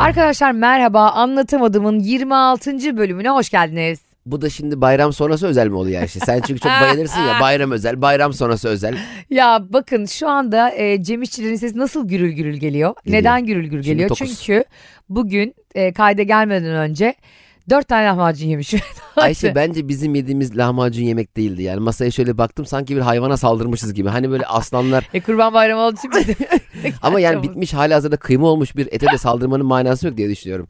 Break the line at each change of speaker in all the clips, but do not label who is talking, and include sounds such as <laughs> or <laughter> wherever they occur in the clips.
Arkadaşlar merhaba Anlatamadığımın 26. bölümüne hoş geldiniz.
Bu da şimdi bayram sonrası özel mi oluyor Ayşe? Sen
<laughs>
çünkü çok bayılırsın ya bayram özel, bayram sonrası özel.
Ya bakın şu anda e, Cem İşçilerin sesi nasıl gürül gürül geliyor?
Geliyor.
Neden gürül gürül
Şimdi
geliyor?
tokuz.
Çünkü bugün e, kayda gelmeden önce 4 tane lahmacun yemiş. <laughs>
Ayşe bence bizim yediğimiz lahmacun yemek değildi. Yani masaya şöyle baktım sanki bir hayvana saldırmışız gibi. Hani böyle aslanlar
e, kurban bayramı olduğu için
<laughs>
bizim-
ama
<laughs>
yani
Gerçi-
bitmiş hali hazırda kıyma olmuş bir ete de saldırmanın manası yok diye düşünüyorum.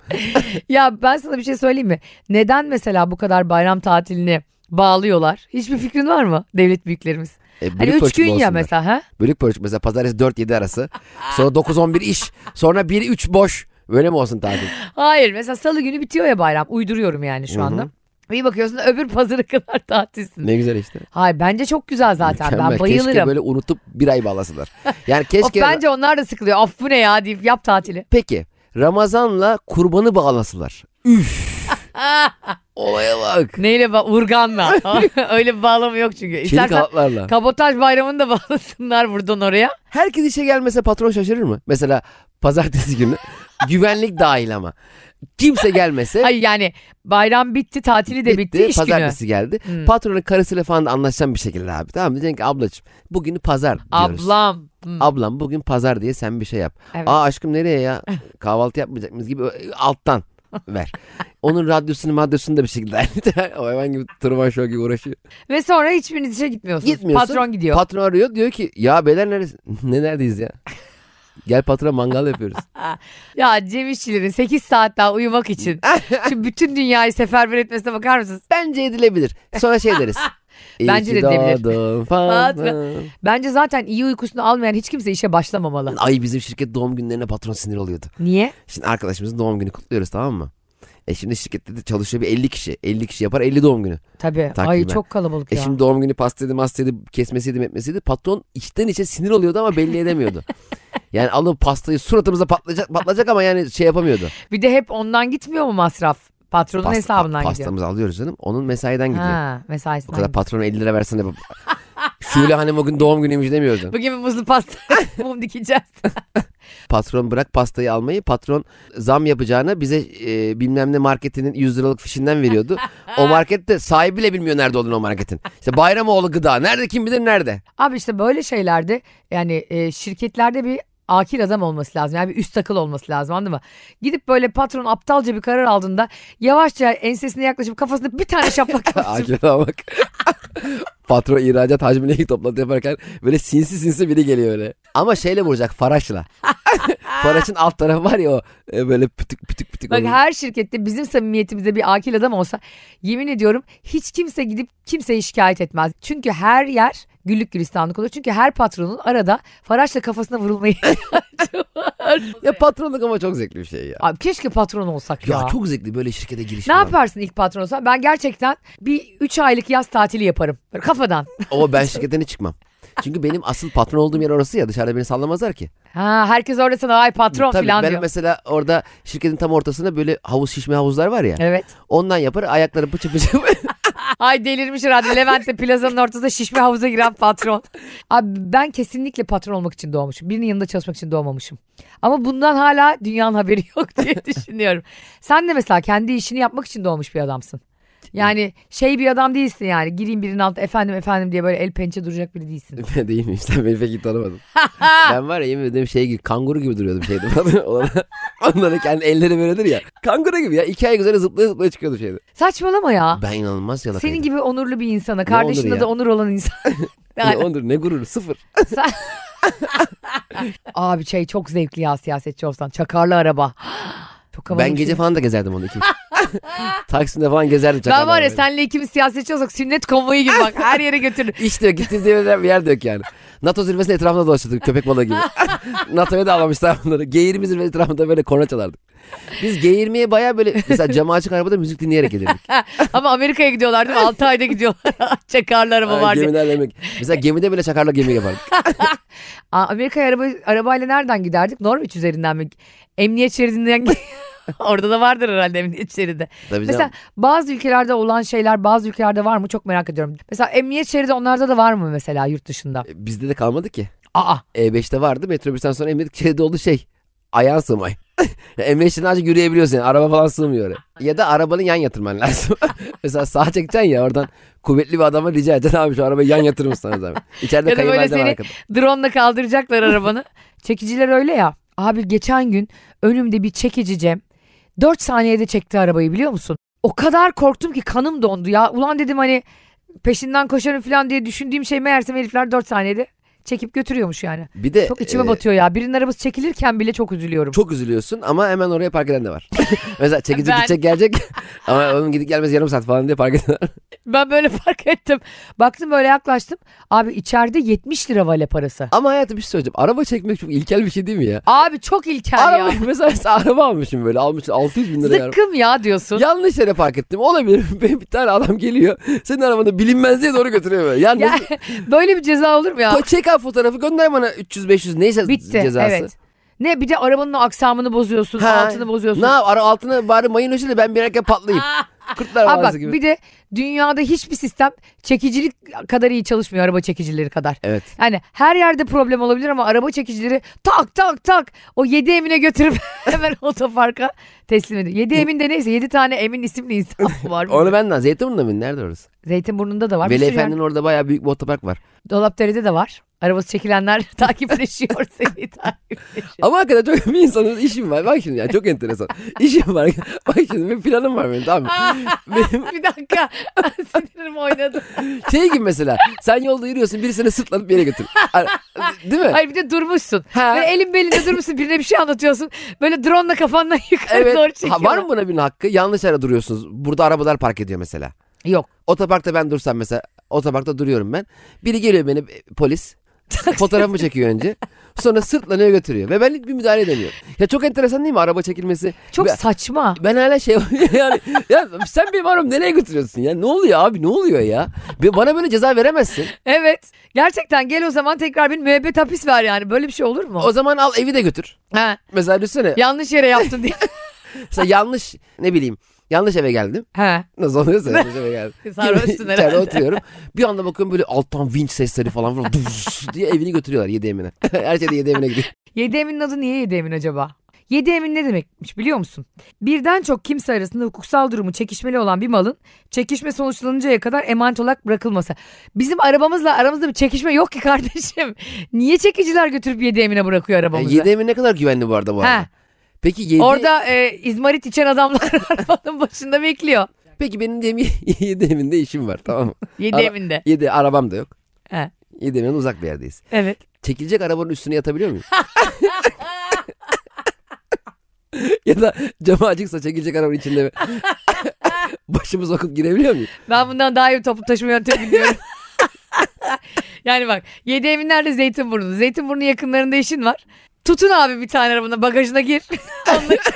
Ya ben sana bir şey söyleyeyim mi? Neden mesela bu kadar bayram tatilini bağlıyorlar? Hiçbir fikrin var mı devlet büyüklerimiz?
E,
Hani 3
pörçük mü
gün ya
olsunlar?
mesela ha?
Bölük pörçük mesela pazartesi 4-7 arası. Sonra 9-11 iş. Sonra 1-3 boş. Böyle mi olsun tatil?
Hayır mesela salı günü bitiyor ya bayram. Uyduruyorum yani şu
Hı hı.
anda. Bir bakıyorsun öbür pazara <laughs> kadar tatilsin.
Ne
<laughs>
güzel işte.
Hayır bence çok güzel zaten.
Mükemmel.
Ben bayılırım.
Keşke böyle unutup bir ay bağlasınlar. Yani keşke...
<laughs> Of, bence onlar da sıkılıyor. Of bu ne ya deyip yap tatili.
Peki Ramazan'la kurbanı bağlasınlar. Olaya bak.
Neyle ba- urganla. <laughs> Öyle bir bağlamı yok çünkü.
Çelik
İstersen
halatlarla.
kabotaj bayramını da <laughs> bağlasınlar buradan oraya.
Herkes işe gelmese patron şaşırır mı? Mesela pazartesi
<laughs>
günü güvenlik dahil ama. Kimse gelmese
Hayır yani bayram bitti tatili de bitti, iş günü.
pazartesi geldi.
Hmm.
Patronun karısıyla falan da anlaşacağım bir şekilde abi. Tamam mı? Diyeceksin ki ablacığım bugünü pazar diyoruz.
Ablam. Hmm,
Ablam bugün pazar diye sen bir şey yap.
evet.
Aa aşkım
<laughs>
nereye ya? Kahvaltı yapmayacak mıyız gibi ö- alttan ver. Onun radyosunu radyosunu da bir şekilde hallet. <laughs> o hayvan gibi turban şov gibi uğraşıyor.
Ve sonra hiçbiriniz işe gitmiyorsunuz.
Gitmiyorsun.
Patron gidiyor.
Patron arıyor diyor ki ya beyler neresi? <laughs> ne
<laughs>
neredeyiz ya? Gel patrona mangal yapıyoruz.
ya Cem İşçilerin 8 saat daha uyumak
<laughs>
için. Şu bütün dünyayı seferber etmesine bakar mısınız?
Bence edilebilir. Sonra şey deriz. <laughs> İyi
Bence
ki
de edilebilir.
doğdun falan.
Patron. Bence zaten iyi uykusunu almayan hiç kimse işe başlamamalı.
Ay bizim şirket doğum günlerine patron sinir oluyordu.
Niye?
Şimdi arkadaşımızın doğum günü kutluyoruz tamam mı? E şimdi şirkette de çalışıyor bir 50 kişi. 50 kişi yapar 50 doğum günü.
Tabii. Ay
Takriben.
çok kalabalık
E
ya.
şimdi doğum günü pastaydı mastaydı kesmesiydi etmesiydi. Patron içten içe sinir oluyordu ama
<laughs>
belli edemiyordu. yani alıp pastayı suratımıza patlayacak patlayacak ama yani şey yapamıyordu.
Bir de hep ondan gitmiyor mu masraf? Patronun
Pasta-
hesabından
pa-
gidiyor.
Pastamızı alıyoruz canım. Onun mesaiden gidiyor.
Ha,
O
mesaisinden
kadar patrona 50 lira versene. bab- <laughs> Şule Hanım bugün doğum günüymüş
<laughs>
demiyordu.
gidiyor. Bugün bir muzlu pasta mum dikeceğiz.
Patron bırak pastayı almayı. Patron zam yapacağına bize e, bilmem ne marketinin 100 liralık fişinden veriyordu. o markette sahibi bile bilmiyor nerede olduğunu o marketin. İşte Bayramoğlu gıda. Nerede kim bilir
<laughs>
nerede.
Abi işte böyle şeylerde yani e, şirketlerde bir akil adam olması lazım. Yani bir üst akıl olması lazım anladın mı? Gidip böyle patron aptalca bir karar aldığında yavaşça ensesine yaklaşıp kafasına bir tane şaplak
<laughs>
kapatıp
Akif bak. Patron ihracat hacmine ilk <laughs> toplantı yaparken böyle sinsi sinsi biri geliyor öyle. Ama şeyle vuracak faraşla. <laughs> Faraşın alt tarafı var ya o e, böyle pütük pütük pütük.
Bak
onun-
her şirkette bizim samimiyetimizde bir akil adam olsa yemin ediyorum hiç kimse gidip kimseyi şikayet etmez. Çünkü her yer güllük gülistanlık olur. Çünkü her patronun arada faraşla kafasına vurulmayı
Ya patronluk ama çok zevkli bir şey ya.
Abi keşke patron olsak ya.
Ya, çok zevkli böyle şirkete giriş
Ne
falan.
yaparsın ilk patron olsan? Ben gerçekten bir 3 aylık yaz tatili yaparım. Böyle kafadan. <laughs>
Ama ben şirketten hiç çıkmam. Çünkü benim asıl patron olduğum yer orası ya dışarıda beni sallamazlar ki.
Ha, herkes orada sana ay patron
Tabii
falan
ben
diyor.
mesela orada şirketin tam ortasında böyle havuz şişme havuzlar var ya. <laughs>
Evet.
Ondan yapar ayakları pıçı pıçı. <laughs>
Ay delirmiş herhalde Levent'le plazanın ortasında şişme havuza giren patron. Abi ben kesinlikle patron olmak için doğmuşum. Birinin yanında çalışmak için doğmamışım. Ama bundan hala dünyanın haberi yok <laughs> diye düşünüyorum. Sen de mesela kendi işini yapmak için doğmuş bir adamsın. Yani şey bir adam değilsin yani. Gireyim birinin altına efendim efendim diye böyle el pençe duracak biri değilsin.
Değil miyim sen beni pek
<laughs>
iyi tanımadın. ben var ya yemin ederim şey gibi kanguru gibi duruyordum şeyde. <laughs> Onlara- Onlara kendi elleri böyledir ya. Kanguru gibi ya. iki ay güzel zıplaya zıplaya çıkıyordu şeyde.
Saçmalama ya.
Ben inanılmaz yalakaydım.
Senin gibi onurlu bir insana,
onuru
kardeşinde
ya?
de onur olan
<laughs>
insan. <laughs>
Ne ondur ne gurur sıfır.
Abi şey çok zevkli ya siyasetçi olsan. Çakarlı araba. <gasps> Çok havalı
ben
bir
gece
şey.
falan da gezerdim onu. iki- <laughs> Taksim'de falan gezerdim.
Ben
çakarlarla
var ya
böyle.
senle ikimiz siyasetçi olsak sünnet konvoyu gibi bak her yere götürür.
<laughs> İş diyor gittiğimiz yerden bir yer diyor ki yani. NATO zirvesinin etrafında dolaşıyorduk
<laughs>
köpek balığı gibi. NATO'ya da almamışlar bunları. G20 zirvesi etrafında böyle korna çalardık. Biz G20'ye baya böyle
<laughs>
mesela cama açık arabada müzik dinleyerek gelirdik.
Ama Amerika'ya gidiyorlar değil mi? 6 ayda gidiyorlar. <laughs> Çakarlı araba var diye.
Gemilerle yemek. Mesela gemide bile çakarla gemi yapardık.
Aa, Amerika'ya araba, arabayla nereden giderdik? Norveç üzerinden mi? Emniyet şeridinden <laughs>
<laughs>
gi- Orada da vardır herhalde emniyet şeridi.
Tabii
Mesela
canım.
bazı ülkelerde olan şeyler bazı ülkelerde var mı? Çok merak ediyorum. Mesela emniyet şeridi onlarda da var mı mesela yurt dışında?
Bizde de kalmadı ki.
Aa
E E5'te vardı metrobüsten sonra emniyet kilidi oldu şey. ayağın sığmay. <laughs> Emre Şener ancak yürüyebiliyorsun. yani. Araba falan sığmıyor oraya. Ya da arabanı yan yatırman lazım. <laughs> Mesela sağa çekeceksin ya oradan kuvvetli bir adama rica edeceksin abi şu arabayı yan yatırır mısın sana zahmet.
<laughs>
İçeride
Ya da böyle
kayınvalide var
seni-
arkada.
Drone'la
<laughs>
kaldıracaklar arabanı. Çekiciler öyle ya. Abi geçen gün önümde bir çekici Cem 4 saniyede çekti arabayı biliyor musun? O kadar korktum ki kanım dondu ya. Ulan dedim hani peşinden koşarım falan diye düşündüğüm şey meğersem herifler 4 saniyede çekip götürüyormuş yani.
Bir de
Çok içime
e,
batıyor ya. Birinin arabası çekilirken bile çok üzülüyorum.
Çok üzülüyorsun ama hemen oraya park eden de var. <laughs> Mesela çekici
Ben-
gidecek gelecek <laughs> ama onun gidip gelmesi yarım saat falan diye park eden var.
Ben böyle <laughs> fark ettim. Baktım böyle yaklaştım. Abi içeride 70 lira vale parası.
<laughs> Ama hayatım bir şey söyleyeceğim. Araba çekmek çok ilkel bir şey değil mi ya?
Abi çok ilkel
Araba,
ya.
<laughs> mesela sen araba almışım böyle almışsın 600 bin liraya. araba.
Zıkkım ya diyorsun.
Yanlış yere park ettim. Olabilir. <laughs> Benim bir tane adam geliyor. Senin arabanı bilinmezliğe doğru götürüyor böyle. Yani
Ya, <laughs> böyle bir ceza olur mu ya?
çek al fotoğrafı gönder bana 300-500 neyse
Bitti
cezası.
evet. Ne bir de arabanın o aksamını bozuyorsun,
Ha,
altını bozuyorsun.
Ne yap? Ara altına bari mayın öşeyle ben binerken patlayayım.
<laughs>
Kurtlar
Aa, bak
Vadisi gibi.
bir de dünyada hiçbir sistem çekicilik kadar iyi çalışmıyor araba çekicileri kadar.
Evet.
Yani her yerde problem olabilir ama araba çekicileri tak tak tak o 7 emine götürüp <laughs> hemen otoparka teslim ediyor. 7 emin de neyse 7 tane emin isimli
<laughs>
insan var.
Onu ben de Zeytinburnu'nda mı? Nerede orası?
Zeytinburnu'nda da var. bir
Veli
sürü yer.
Efendi'nin orada bayağı büyük bir otopark var.
Dolapdere'de de var. Arabası çekilenler <laughs>
<laughs>
takipleşiyor seni takipleşiyor.
Ama hakikaten çok <laughs> bir insanın işim var. Bak şimdi ya
<laughs>
çok enteresan. İşim var. <laughs> Bak şimdi bir planım var benim tamam mı?
<laughs>
Benim
bir dakika sinirim oynadı.
şey gibi mesela sen yolda yürüyorsun biri seni sırtlanıp bir yere götür. Hani,
<laughs>
Değil mi?
Hayır bir de durmuşsun.
Ha.
Böyle elin belinde durmuşsun birine bir şey anlatıyorsun. Böyle drone'la kafandan <laughs> yukarı
Evet.
doğru
Ha,
çekiyorlar.
var mı buna birinin hakkı? Yanlış yere duruyorsunuz. Burada arabalar park ediyor mesela.
Yok.
Otoparkta ben dursam mesela otoparkta duruyorum ben. Biri geliyor beni e,
<laughs>
polis fotoğrafımı çekiyor önce. Sonra sırtlanıyor götürüyor ve ben hiçbir müdahale edemiyorum. Ya çok enteresan değil mi araba çekilmesi?
Çok
ben,
saçma.
ben hala şey <laughs> yani ya sen benim arabamı nereye götürüyorsun ya? Ne oluyor abi ne oluyor ya? Be- Bana böyle ceza veremezsin.
Evet. Gerçekten gel o zaman tekrar bir müebbet hapis ver yani. Böyle bir şey olur mu?
O zaman al evi de götür.
Ha,
Mesela düşünsene
yanlış yere yaptın diye. <laughs>
mesela yanlış ne bileyim yanlış eve geldim.
ha. <laughs>
Nasıl oluyorsa yanlış eve geldim.
Sarhoşsun
İçeride
herhalde.
oturuyorum. Bir anda bakıyorum böyle alttan vinç sesleri falan falan duz diye evini götürüyorlar yedi emine. <laughs> Her şey de yedi emine
<laughs>
gidiyor.
Yedi Emin'in adı niye Yedi Emin acaba? Yedi Emin ne demekmiş biliyor musun? Birden çok kimse arasında hukuksal durumu çekişmeli olan bir malın çekişme sonuçlanıncaya kadar emanet olarak bırakılması. Bizim arabamızla aramızda bir çekişme yok ki kardeşim. <laughs> Niye çekiciler götürüp Yedi Emin'e bırakıyor
Yani
arabamızı?
yedi emin ne kadar güvenli bu arada bu arada.
Ha.
Peki yedi,
Orada e, izmarit içen adamlar <laughs> arabanın başında bekliyor.
peki benim diyelim <laughs> yedi eminde işim var tamam mı?
Yedi
Ara-
evinde.
Yedi arabam da yok.
He.
Yedi eminden uzak bir yerdeyiz.
Evet.
Çekilecek arabanın üstüne
<laughs>
yatabiliyor muyum? <laughs> ya da camı açıksa çekilecek arabanın
<laughs>
içinde mi? <laughs> başımı sokup girebiliyor muyum?
Ben bundan daha iyi bir toplu taşıma yöntemi biliyorum. yani bak yedi evin nerede Zeytinburnu. Zeytinburnu yakınlarında işin var. Tutun abi bir tane arabana bagajına gir.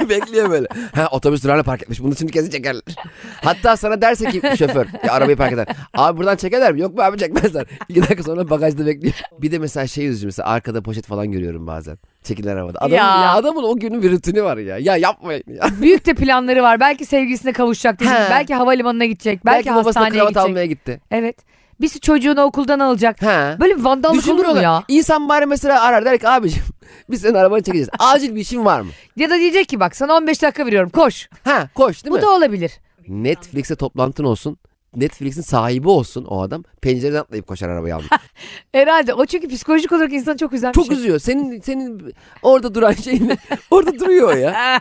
<laughs> Bekliyor böyle. Ha otobüs durağına park etmiş. Bunu şimdi kesin çekerler. Hatta sana derse ki şoför ya arabayı park eder. Abi buradan çekerler mi? Yok be abi çekmezler. <laughs> İki dakika sonra bagajda bekliyor. Bir de mesela şey üzücü mesela arkada poşet falan görüyorum bazen. Çekilen arabada. Adamın,
Ya.
ya. adamın o günün bir rutini var ya. Ya yapmayın ya. Belki,
Büyük de planları var. Belki sevgilisine kavuşacak.
He.
Belki havalimanına gidecek. Belki,
babasına
hastaneye
kravat
gidecek.
almaya gitti.
Evet. Birisi çocuğunu okuldan alacak.
Ha.
Böyle bir vandallık
Düşünür
olur mu
olur.
ya?
İnsan bari mesela arar der ki abicim <laughs> biz senin arabanı çekeceğiz. Acil bir işin var mı?
Ya da diyecek ki bak sana 15 dakika veriyorum koş.
Ha koş değil
Bu
mi?
da olabilir.
Netflix'e toplantın olsun. Netflix'in sahibi olsun o adam. Pencereden atlayıp koşar arabayı almış.
Herhalde o çünkü psikolojik olarak insanı çok üzen bir
Çok
şey.
üzüyor. Senin senin orada
<laughs>
duran şeyin orada duruyor ya.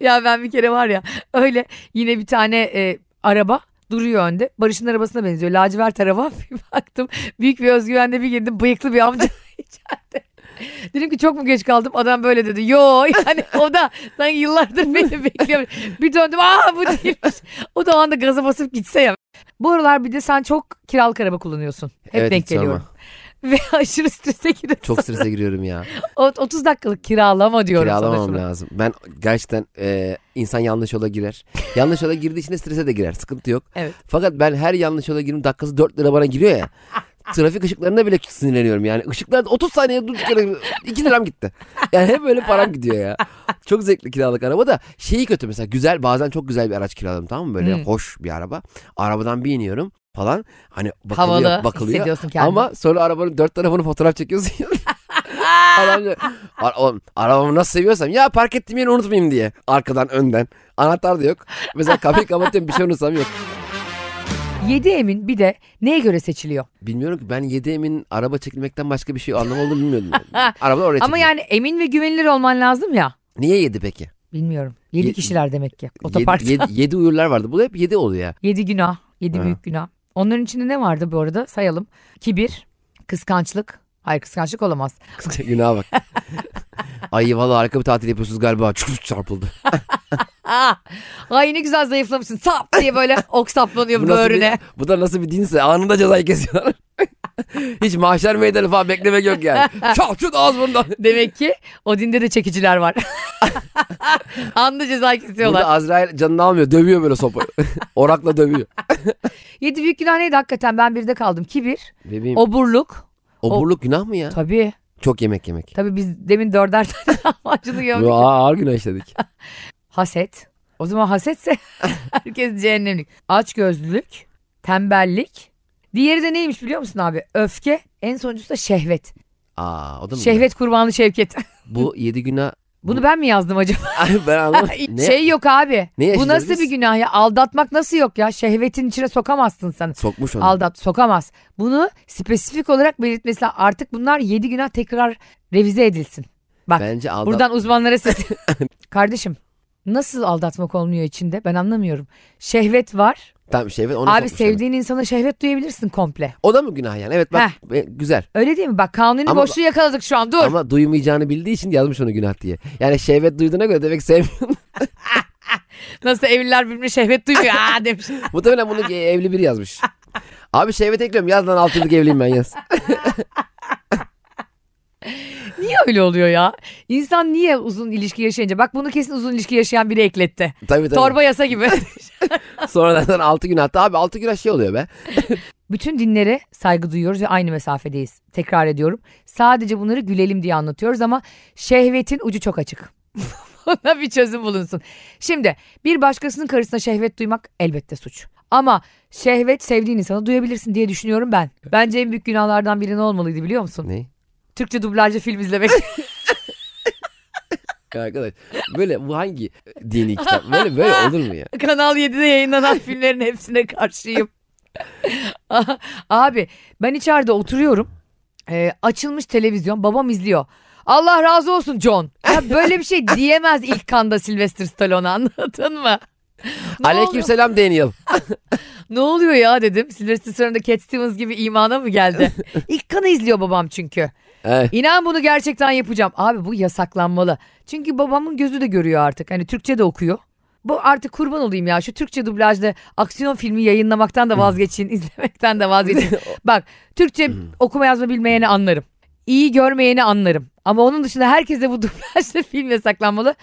Ya ben bir kere var ya öyle yine bir tane e, araba duruyor önde. Barış'ın arabasına benziyor. Lacivert araba. <laughs> Bir baktım büyük bir özgüvenle bir girdim. Bıyıklı bir amca <laughs> içeride. Dedim ki çok mu geç kaldım? Adam böyle dedi. Yo yani o da sanki yıllardır
<laughs>
beni bekliyor. Bir döndüm aa bu değilmiş. O da o anda gaza basıp gitse ya. Bu aralar bir de sen çok kiralık araba kullanıyorsun. Hep
Evet,
denk
hiç sorma.
geliyorum. <laughs> Ve aşırı strese giriyorsun.
Çok strese giriyorum ya.
O- 30 dakikalık kiralama diyorum sana.
Kiralamam
şunu.
lazım. Ben gerçekten e, insan yanlış yola girer. Yanlış yola girdiği için de strese de girer. Sıkıntı yok.
Evet.
Fakat ben her yanlış yola girme dakikası 4 lira bana
<laughs>
giriyor ya. Trafik ışıklarına bile sinirleniyorum yani. Işıklar 30 saniye durduk yere 2 liram gitti. Yani hep böyle param gidiyor ya. Çok zevkli kiralık araba da şeyi kötü mesela güzel bazen çok güzel bir araç kiraladım tamam mı? Böyle
Hmm.
hoş bir araba. Arabadan bir iniyorum falan. Hani bakılıyor
Havalı
bakılıyor.
hissediyorsun kendini. <laughs>
Ama sonra arabanın dört tarafını fotoğraf çekiyorsun. Adamca, Ar- oğlum, arabamı nasıl seviyorsam ya park ettiğim yeri unutmayayım diye. Arkadan önden. Anahtar da yok. Mesela kapıyı kapatıyorum bir şey unutsam yok.
7 emin bir de neye göre seçiliyor?
Bilmiyorum ki ben 7 emin araba çekilmekten başka bir şey anlam
<laughs>
olduğunu bilmiyordum. Araba oraya
Ama
çekiliyor.
yani emin ve güvenilir olman lazım ya.
Niye 7 peki?
Bilmiyorum. 7
Ye-
kişiler demek ki otoparkta.
7, 7 uyurlar vardı. Bu da hep 7 oluyor ya.
7 günah, 7
Hı.
büyük günah. Onların içinde ne vardı bu arada? Sayalım. Kibir, kıskançlık. Hayır kıskançlık olamaz. <laughs>
Günaha bak. Ay valla harika bir tatil yapıyorsunuz galiba. Çok çarpıldı.
Ah! Ay ne güzel zayıflamışsın. Sap diye
<laughs>
böyle ok saplanıyor
Bu, nasıl
böğrüne.
bir- bu da nasıl bir dinse anında cezayı kesiyorlar. <laughs> Hiç mahşer meydanı falan beklemek
<laughs>
yok yani. Çat çut ağız bundan.
Demek ki Odin'de de çekiciler
<laughs>
var. Anında ceza kesiyorlar.
Burada Azrail canını almıyor. Dövüyor böyle sopayı. <laughs> Orakla dövüyor.
Yedi büyük günah neydi hakikaten ben birde kaldım. Kibir,
Bebeğim
oburluk.
oburluk günah mı ya?
Tabii.
Çok yemek yemek.
Tabii biz demin dörder tane <laughs> lahmacunu
Bu
gömdük.
ağır ağır günah işledik.
Haset. O zaman hasetse <laughs> herkes cehennemlik. Açgözlülük, tembellik. Diğeri de neymiş biliyor musun abi? Öfke. En sonuncusu da şehvet.
Aa o da mı? günah?
Şehvet kurbanlı Şevket.
Bu yedi günah. <laughs>
Bunu ben mi yazdım acaba?
Ay,
<laughs>
ben anlamadım. <laughs> Ne?
Şey yok abi.
Ne
Bu
yaşayacağız
nasıl
biz?
bir günah ya? Aldatmak nasıl yok ya? Şehvetin içine sokamazsın sen.
Sokmuş onu.
Aldat sokamaz. Bunu spesifik olarak belirtmesi artık bunlar 7 günah tekrar revize edilsin. Bak,
Bence aldat.
Buradan uzmanlara
<laughs>
ses. Kardeşim nasıl aldatmak olmuyor içinde ben anlamıyorum. Şehvet var.
Tamam şehvet onu
Abi
sokmuş yani.
sevdiğin insana şehvet duyabilirsin komple.
O da mı günah yani? Evet bak e, güzel.
Öyle değil mi? Bak kanuni
Ama-
boşluğu yakaladık şu an dur.
Ama duymayacağını bildiği için yazmış onu günah diye. Yani şehvet duyduğuna göre demek sevmiyor.
Nasıl evliler birbirine şehvet duymuyor aa
<laughs>
demiş.
Muhtemelen bunu e, evli biri yazmış. Abi şehvet ekliyorum yaz lan 6 yıllık evliyim ben yaz.
Niye öyle oluyor ya? İnsan niye uzun ilişki yaşayınca? Bak bunu kesin uzun ilişki yaşayan biri ekletti.
Tabii tabii.
Torba yasa gibi.
Sonradan 6 günah. Abi 6 günah şey oluyor be.
Bütün dinlere saygı duyuyoruz ve aynı mesafedeyiz. Tekrar ediyorum. Sadece bunları gülelim diye anlatıyoruz ama şehvetin ucu çok açık. <laughs> Buna bir çözüm bulunsun. Şimdi bir başkasının karısına şehvet duymak elbette suç. Ama şehvet sevdiğin insana duyabilirsin diye düşünüyorum ben. Bence en büyük günahlardan biri ne olmalıydı biliyor musun?
Ne?
Türkçe dublajlı film izlemek.
Ya arkadaş böyle bu hangi dini kitap? Böyle böyle olur mu ya?
Kanal 7'de yayınlanan filmlerin hepsine karşıyım. <laughs> Abi ben içeride oturuyorum. Ee, açılmış televizyon babam izliyor. Allah razı olsun John. Ya böyle bir şey diyemez ilk kanda Sylvester Stallone anladın mı? Ne
Aleyküm
oluyor?
selam Daniel.
Ne oluyor ya dedim. Sylvester Stallone'da Cat Stevens gibi imana mı geldi? İlk kanı izliyor babam çünkü.
Evet.
İnan bunu gerçekten yapacağım. Abi bu yasaklanmalı. Çünkü babamın gözü de görüyor artık. Hani Türkçe de okuyor. Bu artık kurban olayım ya. Şu Türkçe dublajlı aksiyon filmi yayınlamaktan da vazgeçin. <laughs> izlemekten de <laughs> vazgeçin. Bak Türkçe okuma yazma bilmeyeni anlarım. İyi görmeyeni anlarım. Ama onun dışında herkese bu <laughs> dublajlı film yasaklanmalı.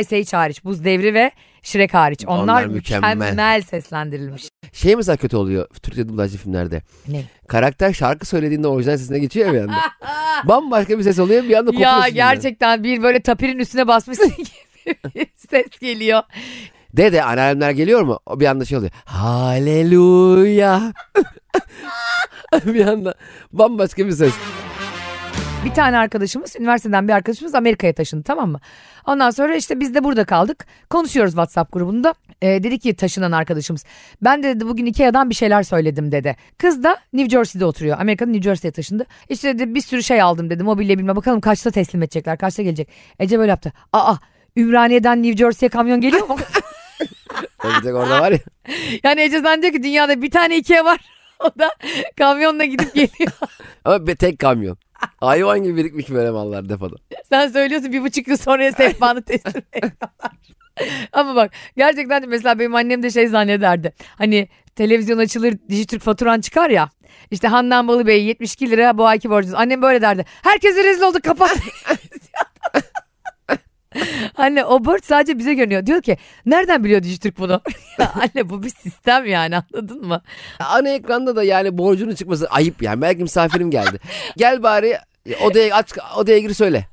Ice Age hariç. Buz Devri ve Shrek hariç. Onlar,
Onlar mükemmel.
mükemmel. seslendirilmiş.
Şey mesela kötü oluyor Türkçe dublajlı filmlerde.
Ne?
Karakter şarkı söylediğinde orijinal sesine geçiyor ya bir
<laughs>
anda. Bambaşka bir ses oluyor bir anda kopuyorsun.
Ya
yani.
gerçekten bir böyle tapirin üstüne basmışsın <laughs> gibi bir ses geliyor.
Dede anneannemler geliyor mu? O bir anda şey oluyor. Haleluya. <laughs> bir anda bambaşka bir ses.
Bir tane arkadaşımız, üniversiteden bir arkadaşımız Amerika'ya taşındı tamam mı? Ondan sonra işte biz de burada kaldık. Konuşuyoruz WhatsApp grubunda. Ee, dedi ki taşınan arkadaşımız. Ben de dedi bugün Ikea'dan bir şeyler söyledim dedi. Kız da New Jersey'de oturuyor. Amerika'nın New Jersey'ye taşındı. İşte dedi bir sürü şey aldım dedi. Mobilya bilmem bakalım kaçta teslim edecekler, kaçta gelecek. Ece böyle yaptı. Aa Ümraniye'den New Jersey'ye kamyon geliyor mu?
Bir tek orada var ya.
yani Ece zannediyor ki dünyada bir tane Ikea var. <laughs> O da kamyonla gidip geliyor.
Ama bir tek kamyon. Hayvan gibi birikmiş böyle mallar depoda.
Sen söylüyorsun bir buçuk yıl sonra sehpanı teslim ediyorlar. Ama bak gerçekten de mesela benim annem de şey zannederdi. Hani televizyon açılır Dijitürk faturan çıkar ya. İşte Handan Balıbey 72 lira bu ayki borcunuz. Annem böyle derdi. Herkese rezil oldu kapat. <laughs> Anne o borç sadece bize görünüyor. Diyor ki nereden biliyor Dijitürk bunu? <laughs> Ya anne bu bir sistem yani anladın mı?
Ana ekranda da yani borcunun çıkması ayıp yani. Belki misafirim geldi. Gel bari e, odaya aç odaya gir söyle.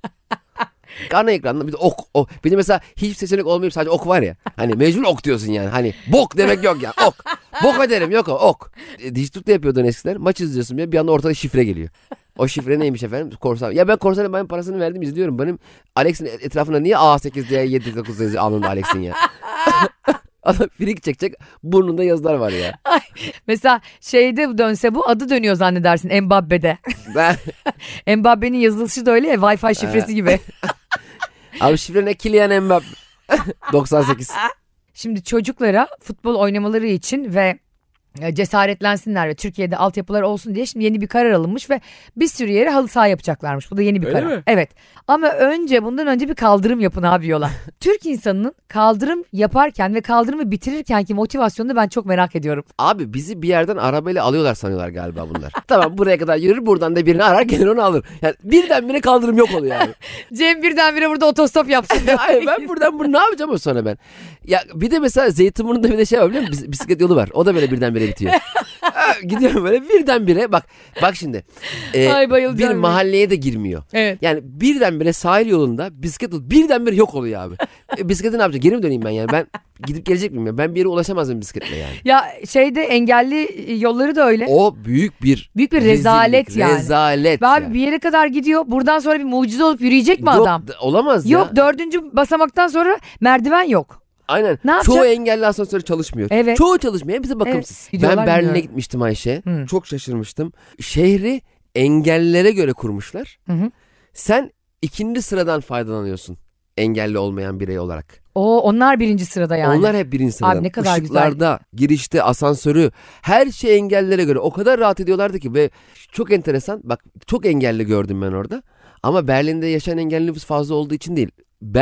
Ana ekranda bir de ok, ok. Bir de mesela hiçbir seçenek olmayıp sadece ok var ya. Hani mecbur ok diyorsun yani. Hani bok demek yok yani ok. Bok ederim yok o ok. E, Dijitürk'te yapıyordun eskiden. Maç izliyorsun bir, bir anda ortada şifre geliyor. O şifre neymiş efendim? Korsan. Ya ben korsana ben parasını verdim izliyorum. Benim Alex'in etrafına niye A8 diye 79 yazıyor alnında Alex'in ya? <laughs> Adam frik çekecek burnunda yazılar var ya.
Mesela şeyde dönse bu adı dönüyor zannedersin Mbappe'de.
Ben,
Mbappe'nin yazılışı da öyle ya Wi-Fi şifresi gibi.
abi şifre ne Kylian Mbappe? <laughs> 98.
Şimdi çocuklara futbol oynamaları için ve e, cesaretlensinler ve Türkiye'de altyapılar olsun diye şimdi yeni bir karar alınmış ve bir sürü yere halı saha yapacaklarmış. Bu da yeni bir
Öyle
karar.
mi?
Evet. Ama önce bundan önce bir kaldırım yapın abi
<laughs>
yola. Türk insanının kaldırım yaparken ve kaldırımı bitirirkenki motivasyonunu ben çok merak ediyorum.
Abi bizi bir yerden arabayla alıyorlar sanıyorlar galiba bunlar. tamam buraya kadar yürür buradan da birini arar gelir onu alır. Yani birdenbire kaldırım yok oluyor yani.
Cem birdenbire burada otostop
<laughs>
yapsın. diyor.
Ay ben buradan bunu ne yapacağım o sonra ben? Ya bir de mesela Zeytinburnu'nda bir de şey var biliyor musun? Bis- Bisiklet yolu var. O da böyle birdenbire bitiyor.
<laughs>
Ha, Gidiyorum böyle birdenbire bak bak şimdi. Ee,
Ay
bir
bayılacağım. ya.
mahalleye de girmiyor.
Evet.
Yani birdenbire sahil yolunda bisiklet yolu birdenbire yok oluyor abi. E, bisiklete ne yapacağım? Geri mi döneyim ben yani? Ben gidip gelecek miyim? ya? Ben bir yere ulaşamazdım bisikletle yani.
Ya şeyde engelli e, yolları da öyle.
O büyük bir
Büyük bir rezalet
rezillik,
yani.
Rezalet.
Ve abi
yani.
bir yere kadar gidiyor. Buradan sonra bir mucize olup yürüyecek mi
Yok,
adam?
d- Olamaz ya.
Yok dördüncü basamaktan sonra merdiven yok.
Aynen.
Ne yapacak?
Çoğu engelli asansörü çalışmıyor.
Evet.
Çoğu çalışmıyor. Hepsi bakımsız.
Evet, gidiyorlar,
ben Berlin'e
gidiyorlar.
gitmiştim Ayşe.
Hı.
Çok şaşırmıştım. Şehri engellilere göre kurmuşlar.
Hı hı.
Sen ikinci sıradan faydalanıyorsun. Engelli olmayan birey olarak.
O onlar birinci sırada yani.
Onlar hep birinci sıradan.
ne kadar güzel.
Işıklarda, girişte, asansörü her şey engellilere göre. O kadar rahat ediyorlardı ki ve çok enteresan. Bak çok engelli gördüm ben orada. Ama Berlin'de yaşayan engelli nüfus fazla olduğu için değil.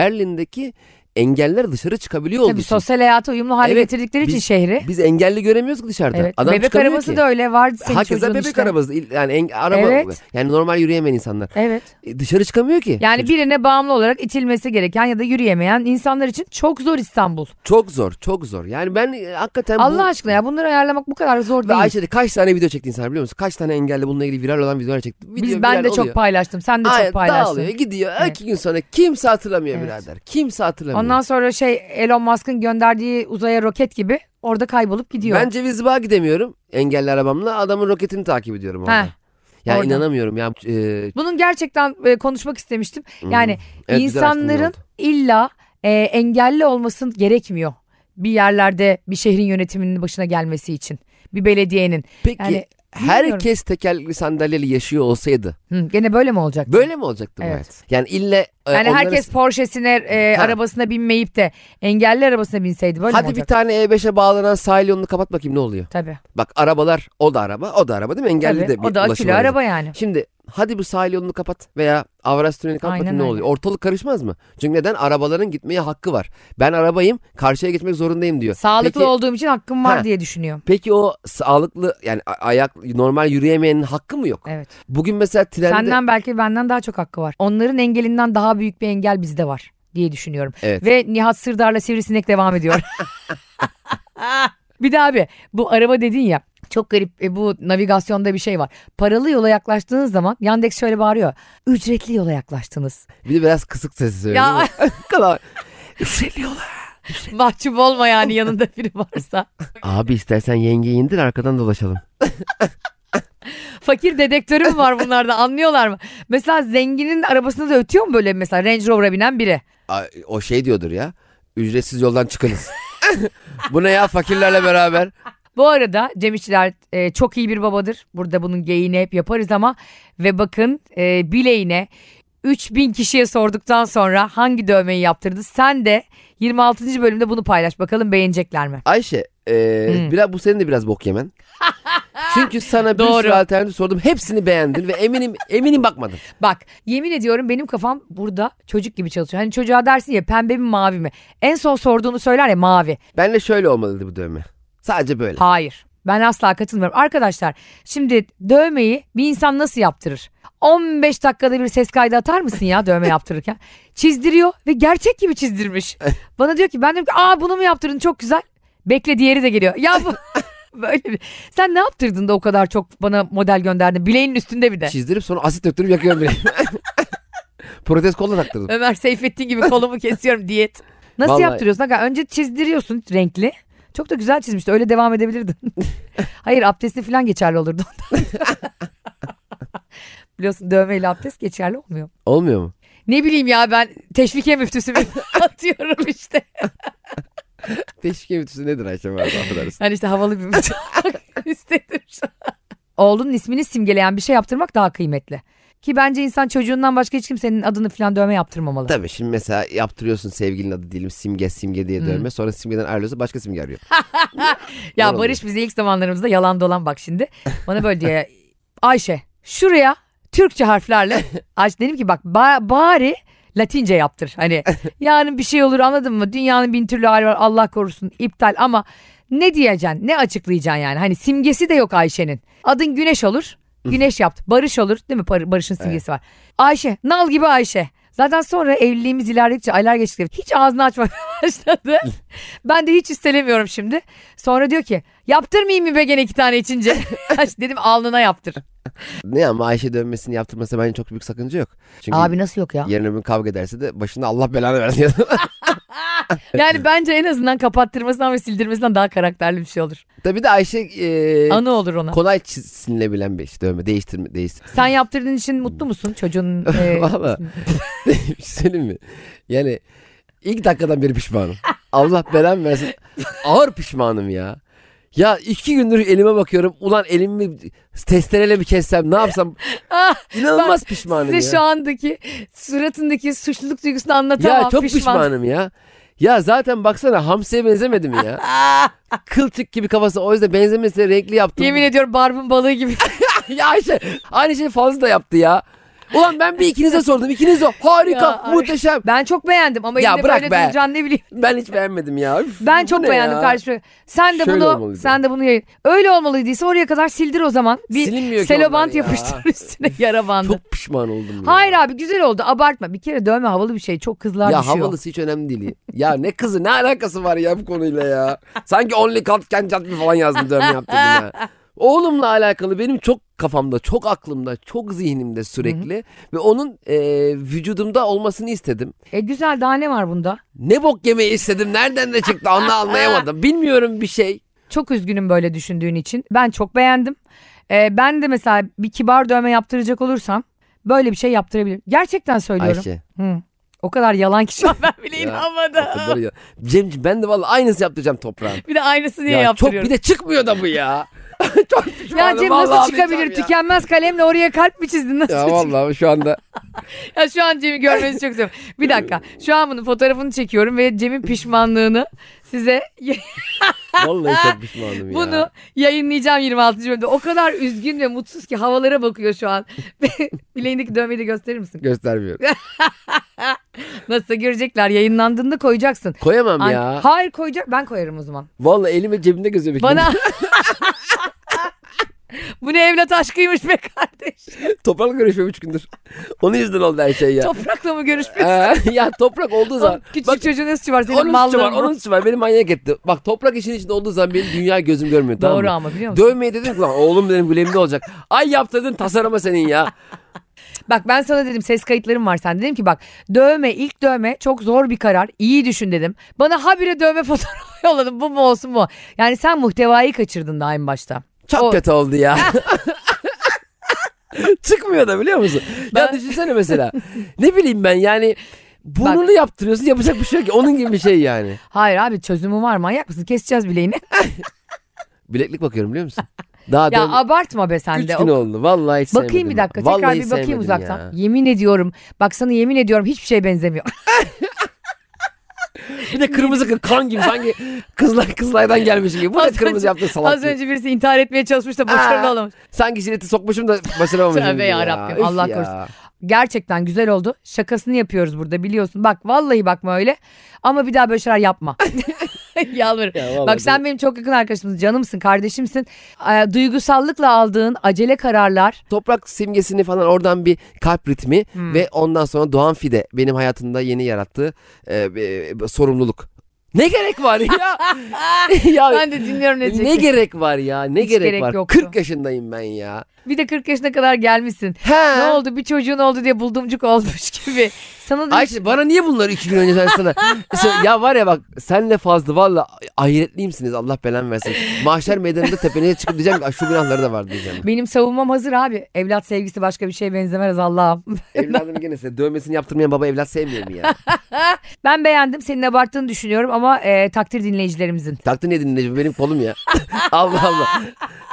Berlin'deki engeller dışarı çıkabiliyor olduğu
Tabii
için.
sosyal hayata uyumlu hale
Evet,
getirdikleri için
biz-
şehri.
Biz engelli göremiyoruz ki dışarıda.
Evet.
Adam
bebek
çıkamıyor
arabası
ki.
da öyle vardı senin
Hakeza
çocuğun
bebek
işte.
arabası il- yani en- araba
Evet.
yani normal yürüyemeyen insanlar.
Evet.
E, dışarı çıkamıyor ki.
Yani
Çocuk-
birine bağımlı olarak itilmesi gereken ya da yürüyemeyen insanlar için çok zor İstanbul.
çok zor, çok zor. Yani ben e, hakikaten bu-
Allah aşkına ya bunları ayarlamak bu kadar zor
ve
değil.
Ayşe'de kaç tane video çekti insanlar biliyor musun? Kaç tane engelli bununla ilgili viral olan videolar çekti. Video
Biz
viral
ben de
oluyor.
çok paylaştım. Sen de
Aynen,
çok paylaştın.
dağılıyor, gidiyor.
Evet.
İki gün sonra kimse hatırlamıyor
Evet.
birader. Kimse hatırlamıyor.
Ondan sonra şey Elon Musk'ın gönderdiği uzaya roket gibi orada kaybolup gidiyor.
ben ceviz bağa gidemiyorum engelli arabamla. Adamın roketini takip ediyorum orada.
Heh,
ya
orada.
inanamıyorum ya. E, hmm,
Bunun gerçekten e, konuşmak istemiştim. Yani
evet, güzel açtın, iyi
İnsanların
oldu.
illa e, engelli olmasın gerekmiyor. Bir yerlerde bir şehrin yönetiminin başına gelmesi için. Bir belediyenin.
Peki
yani
herkes tekerlekli sandalyeli yaşıyor olsaydı
Hı, gene böyle mi olacak?
Böyle mi olacaktı bu
Evet.
hayat? Yani ille e,
yani
onların-
herkes Porsche'sine e,
Ha.
arabasına binmeyip de engelli arabasına binseydi böyle mi
Hadi bir
olacak?
tane E5'e bağlanan sahil yolunu kapat bakayım ne oluyor?
Tabii.
Bak arabalar o da araba o da araba değil mi? Engelli
tabii.
de bir
o da
ulaşım
akülü
aracı.
araba yani.
Şimdi hadi bu sahil yolunu kapat veya Avras tünelini kapat
Aynen
bakayım ne
öyle.
oluyor? Ortalık karışmaz mı? Çünkü neden? Arabaların gitmeye hakkı var. Ben arabayım karşıya geçmek zorundayım diyor.
Sağlıklı
Peki-
olduğum için hakkım var
Ha.
diye düşünüyorum.
Peki o sağlıklı yani a- ayak normal yürüyemeyenin hakkı mı yok?
Evet.
Bugün mesela trende...
Senden belki benden daha çok hakkı var. Onların engelinden daha büyük bir engel bizde var diye düşünüyorum.
Evet.
Ve Nihat Sırdar'la Sivrisinek devam <laughs> ediyor. bir de abi bu araba dedin ya çok garip e, bu navigasyonda bir şey var. Paralı yola yaklaştığınız zaman Yandex şöyle bağırıyor. Ücretli yola yaklaştınız.
Bir de biraz kısık sesi söylüyor. <laughs>
Ya
Kadar- Üfleniyorlar.
<laughs> mahcup olma yani yanında biri varsa.
Abi istersen yengeyi indir arkadan dolaşalım.
<laughs> Fakir dedektörü mü var bunlarda anlıyorlar mı? Mesela zenginin arabasını da ötüyor mu böyle mesela Range Rover'a binen biri?
Ay, o şey diyordur ya. Ücretsiz yoldan çıkınız. <laughs> Bu ne ya fakirlerle beraber?
Bu arada Cem İşçiler e, çok iyi bir babadır. Burada bunun geyiğini hep yaparız ama ve bakın e, bileğine 3000 kişiye sorduktan sonra hangi dövmeyi yaptırdı? Sen de 26. bölümde bunu paylaş bakalım beğenecekler mi?
Ayşe e,
Hmm.
biraz bu senin de biraz
<laughs>
bok yemen. Çünkü sana bir
Doğru.
sürü alternatif sordum. Hepsini beğendin ve eminim eminim bakmadın.
Bak yemin ediyorum benim kafam burada çocuk gibi çalışıyor. Hani çocuğa dersin ya pembe mi mavi mi? En son sorduğunu söyler ya mavi.
Benle şöyle olmalıydı bu dövme. Sadece böyle.
Hayır. Ben asla katılmıyorum. Arkadaşlar şimdi dövmeyi bir insan nasıl yaptırır? 15 dakikada bir ses kaydı atar mısın ya dövme yaptırırken? Çizdiriyor ve gerçek gibi çizdirmiş. Bana diyor ki ben diyorum ki aa bunu mu yaptırdın çok güzel. Bekle diğeri de geliyor. Ya bu <laughs> böyle bir- Sen ne yaptırdın da o kadar çok bana model gönderdin? Bileğinin üstünde bir de.
Çizdirip sonra asit döktürüp
<laughs>
yakıyorum bile. Protez kolla taktırdım.
Ömer Seyfettin gibi kolumu kesiyorum diyet. <laughs> Nasıl
Vallahi-
yaptırıyorsun? Aga, önce çizdiriyorsun renkli. Çok da güzel çizmişti. Öyle devam edebilirdin. Hayır abdesti falan geçerli olurdu. <laughs> biliyorsun dövmeyle abdest geçerli olmuyor.
Olmuyor mu?
Ne bileyim ya ben teşvikiye müftüsü mü? <laughs> atıyorum işte.
Teşvik mütüsü nedir acaba? Affedersin.
Hani işte havalı bir müftü <laughs> istedim şu an. Oğlunun ismini simgeleyen bir şey yaptırmak daha kıymetli. Ki bence insan çocuğundan başka hiç kimsenin adını falan dövme yaptırmamalı.
Tabii şimdi mesela yaptırıyorsun sevgilinin adı diyelim simge simge diye
Hmm.
dövme. Sonra simgeden ayrılıyorsa başka simge arıyor.
Ya
Doğru
Barış bize ilk zamanlarımızda yalan dolan bak şimdi. Bana böyle diye <laughs> Ayşe şuraya Türkçe harflerle Ayşe dedim ki bak ba- bari Latince yaptır. Hani yarın bir şey olur anladın mı? Dünyanın bin türlü hali var Allah korusun iptal ama ne diyeceksin ne açıklayacaksın yani? Hani simgesi de yok Ayşe'nin. Adın Güneş olur. Güneş yaptı. Barış olur değil mi? Bar- Barış'ın simgesi var. Ayşe nal gibi Ayşe. Zaten sonra evliliğimiz ilerledikçe aylar geçtikçe hiç ağzını açmamaya <laughs> başladı. Ben de hiç istelemiyorum şimdi. Sonra diyor ki yaptırmayayım mı be gene iki tane içince?
<laughs>
Dedim alnına yaptır.
Ne ama Ayşe dövmesini yaptırması bence çok büyük sakınca yok. Çünkü
Abi nasıl yok ya?
yarın öbür gün kavga ederse de başına Allah belanı versin. <laughs>
Yani bence en azından kapattırmasından ve sildirmesinden daha karakterli bir şey olur.
Tabii de Ayşe e,
Anı olur ona.
kolay çizilebilen bir şey, dövme. Değiştirme, değiştir.
Sen yaptırdığın için mutlu musun
<laughs>
çocuğun? e,
Valla.
ismi?
bir şey söyleyeyim mi? Yani ilk dakikadan beri pişmanım. Allah belamı versin. Ağır pişmanım ya. Ya iki gündür elime bakıyorum. Ulan elimi testereyle mi kessem ne yapsam.
Ah,
İnanılmaz pişmanım ya.
Size şu andaki suratındaki suçluluk duygusunu anlatamam.
ya çok
Pişman.
pişmanım ya. Ya zaten baksana hamsiye benzemedim
<laughs>
ya.
Ah,
Kılçık gibi kafası o yüzden benzemesi renkli yaptım.
yemin ediyorum barbun balığı
<laughs>
gibi.
ya Ayşe aynı şeyi fazla da yaptı ya. Ulan ben bir ikinize sordum. İkiniz de harika,
Ya Ayşe.
muhteşem.
Ben çok beğendim ama
Ya
elinde
bırak
böyle
be.
duracağını ne bileyim.
Ben hiç beğenmedim ya. Üf,
Ben
bu
çok
ne
beğendim
ya?
kardeşim. Sen de
Şöyle
bunu
olmalıydı.
sen de bunu yayın. Öyle olmalıydıysa oraya kadar sildir o zaman. Bir
Silinmiyor ki
selobant
onlar ya.
yapıştır <laughs> üstüne yara bandı.
Çok pişman oldum. Ya.
Hayır abi güzel oldu abartma. Bir kere dövme havalı bir şey. Çok kızlar
Ya
düşüyor.
havalısı hiç önemli değil. Ya ne kızı ne alakası var ya bu konuyla ya. Sanki only cut can chat me falan yazdım dövme
<laughs>
yaptırdım ya. Oğlumla alakalı benim çok kafamda, çok aklımda, çok zihnimde sürekli. Ve onun e, vücudumda olmasını istedim.
E güzel daha ne var bunda?
Ne bok yemeyi istedim, nereden de çıktı onu anlayamadım. Bilmiyorum bir şey.
Çok üzgünüm böyle düşündüğün için. Ben çok beğendim. E, ben de mesela bir kibar dövme yaptıracak olursam böyle bir şey yaptırabilirim. Gerçekten söylüyorum.
Ayşe.
Hı. O kadar yalan ki şu an ben bile
Ya.
inanmadım.
kadar ya. Cemciğim ben de vallahi aynısını yaptıracağım toprağın.
bir de aynısını niye
Ya çok
yaptırıyorum?
bir de çıkmıyor da
<laughs>
bu ya. çok
Ya
pişmanım,
Cem
vallahi
nasıl çıkabilir?
anlayacağım ya.
Tükenmez kalemle oraya kalp mi çizdin? Nasıl
Ya vallahi
<laughs>
şu anda
Ya şu an Cem'i görmenizi çok istiyorum. Bir dakika. Şu an bunun fotoğrafını çekiyorum ve Cem'in pişmanlığını size
vallahi çok pişmanım ya.
bunu yayınlayacağım 26. bölümde. O kadar üzgün ve mutsuz ki havalara bakıyor şu an. <laughs> Bileğindeki dövmeyi de gösterir misin?
göstermiyorum.
Nasıl görecekler? Yayınlandığında koyacaksın.
Koyamam
An-
ya.
Hayır koyacak. Ben koyarım o zaman.
Vallahi elime cebimde gözüme <laughs>
Bana... <laughs> Bu ne evlat aşkıymış be kardeş.
Toprakla görüşmüyorum üç gündür. <laughs> Onun yüzünden oldu her şey ya.
Toprakla mı görüşmüyorsun?
<laughs> Ee, ya toprak olduğu zaman.
Küçük
Bak,
çocuğun ne suçu var? Senin
onun suçu var,
malların
onun
mı?
suçu var. Beni manyak etti. Bak toprak işin içinde olduğu zaman benim dünya gözüm görmüyor. tamam mı?
Doğru ama biliyor musun?
Dövmeyi dedim ki lan oğlum dedim gülemli olacak. Ay yaptırdın tasarıma senin ya.
Bak ben sana dedim ses kayıtlarım var sen. Dedim ki bak dövme ilk dövme çok zor bir karar. İyi düşün dedim. Bana habire dövme <laughs> fotoğrafı yolladın. Bu mu olsun bu. mu? Yani sen muhtevayı kaçırdın daha en başta.
Çok
O-
kötü
<laughs>
oldu ya. <laughs> Çıkmıyor da biliyor musun? Ya
Ben-
düşünsene mesela. ne bileyim ben yani burnunu yaptırıyorsun yapacak bir şey yok ki. Onun gibi bir şey yani.
Hayır abi çözümü var manyak mısın? Keseceğiz bileğini.
Bileklik bakıyorum biliyor musun? Daha
ya
dön-
abartma be sen
Üç
de.
gün
O-
oldu. Vallahi hiç
Bakayım
sevmedim
bir dakika
ya.
tekrar
Vallahi
bir bakayım
sevmedim
uzaktan.
ya.
Yemin ediyorum bak sana yemin ediyorum hiçbir şeye benzemiyor.
Bir de kırmızı kır- kan gibi sanki kızlar kızlardan gelmiş gibi. Bu
Az
da
önce-
kırmızı yaptı salak.
Az
gibi.
önce birisi intihar etmeye çalışmış da
Aa.
başarılı olamamış.
Sanki jileti sokmuşum da başaramamışım.
Tövbe
gibi
yarabbim,
Üf
Allah
ya.
korusun. Gerçekten güzel oldu. Şakasını yapıyoruz burada biliyorsun. Bak vallahi bakma öyle. Ama bir daha böyle şeyler
<laughs>
yapma. Yalvarırım.
Ya vallahi
Bak sen benim çok yakın arkadaşımsın, canımsın, kardeşimsin. Ee, Duygusallıkla aldığın acele kararlar.
Toprak simgesini falan oradan bir kalp ritmi
Hmm.
ve ondan sonra Doğan Fide benim hayatımda yeni yarattığı e, e, sorumluluk. Ne gerek
<laughs>
var ya? ya
Ah, Ben de dinliyorum ne
ne
diyeceksin.
gerek var ya? Ne
Hiç
gerek,
gerek
var?
yoktu.
40 yaşındayım ben ya.
Bir de 40 yaşına kadar gelmişsin.
He.
Ne oldu bir çocuğun oldu diye buldumcuk olmuş <laughs> gibi. Sana da
Ayşe bana niye bunları iki gün
<laughs>
önce söylesene? İşte ya var ya bak senle fazla valla ahiretliyimsiniz Allah belanı versin. Mahşer meydanında tepenize çıkıp diyeceğim ki "Ay, şu günahları da var diyeceğim.
<laughs> benim savunmam hazır abi. Evlat sevgisi başka bir şeye benzemez Allah'ım. <laughs>
Evladım gene size dövmesini yaptırmayan baba evlat sevmiyor mu ya?
Ben beğendim. Senin abarttığını düşünüyorum ama e, takdir dinleyicilerimizin.
Taktı ne dinleyici bu benim kolum ya. <laughs> Allah Allah.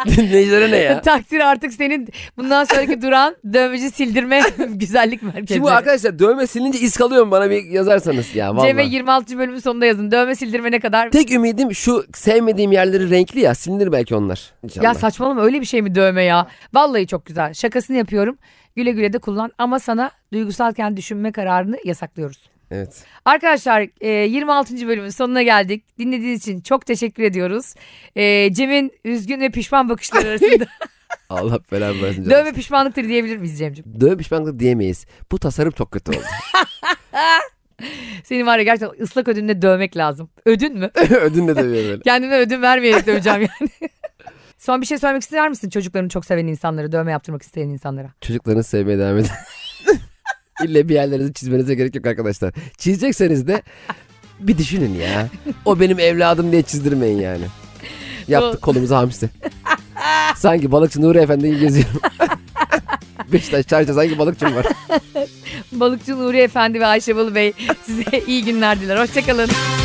Dinleyicilere
<laughs>
ne ya?
Takdir artık senin bundan sonraki duran <laughs> dövmeci sildirme <laughs> güzellik merkezi.
Şimdi bu arkadaşlar dövme silince iz kalıyor mu bana bir yazarsanız ya valla.
Cem'e 26. bölümün sonunda yazın. Dövme sildirme ne kadar?
Tek ümidim şu sevmediğim yerleri renkli ya silinir belki onlar. İnşallah.
Ya saçmalama öyle bir şey mi dövme ya? Vallahi çok güzel. Şakasını yapıyorum. Güle güle de kullan ama sana duygusalken düşünme kararını yasaklıyoruz.
Evet.
Arkadaşlar e, 26. bölümün sonuna geldik. Dinlediğiniz için çok teşekkür ediyoruz. E, Cem'in üzgün ve pişman bakışları arasında
Allah belanı versin. canım.
dövme pişmanlıktır diyebilir miyiz Cem'ciğim?
Dövme pişmanlık diyemeyiz. Bu tasarım çok
<laughs>
kötü oldu.
Seni var ya gerçekten ıslak ödünle dövmek lazım. Ödün mü?
Ödünle dövüyor böyle.
Kendime ödün vermeyerek döveceğim yani. <laughs> Son bir şey söylemek ister misin çocuklarını çok seven insanlara, dövme yaptırmak isteyen insanlara?
Çocuklarını sevmeye devam edin. <laughs> İlle bir yerlerinizi çizmenize gerek yok arkadaşlar. Çizecekseniz de bir düşünün ya. O benim evladım diye çizdirmeyin yani. Yaptık kolumuza hamsi. Sanki balıkçı Nuri Efendi'yi geziyorum. Beşiktaş çarşıda sanki balıkçım var.
Balıkçı Nuri Efendi ve Ayşe Balı Bey size iyi günler diler. Hoşçakalın.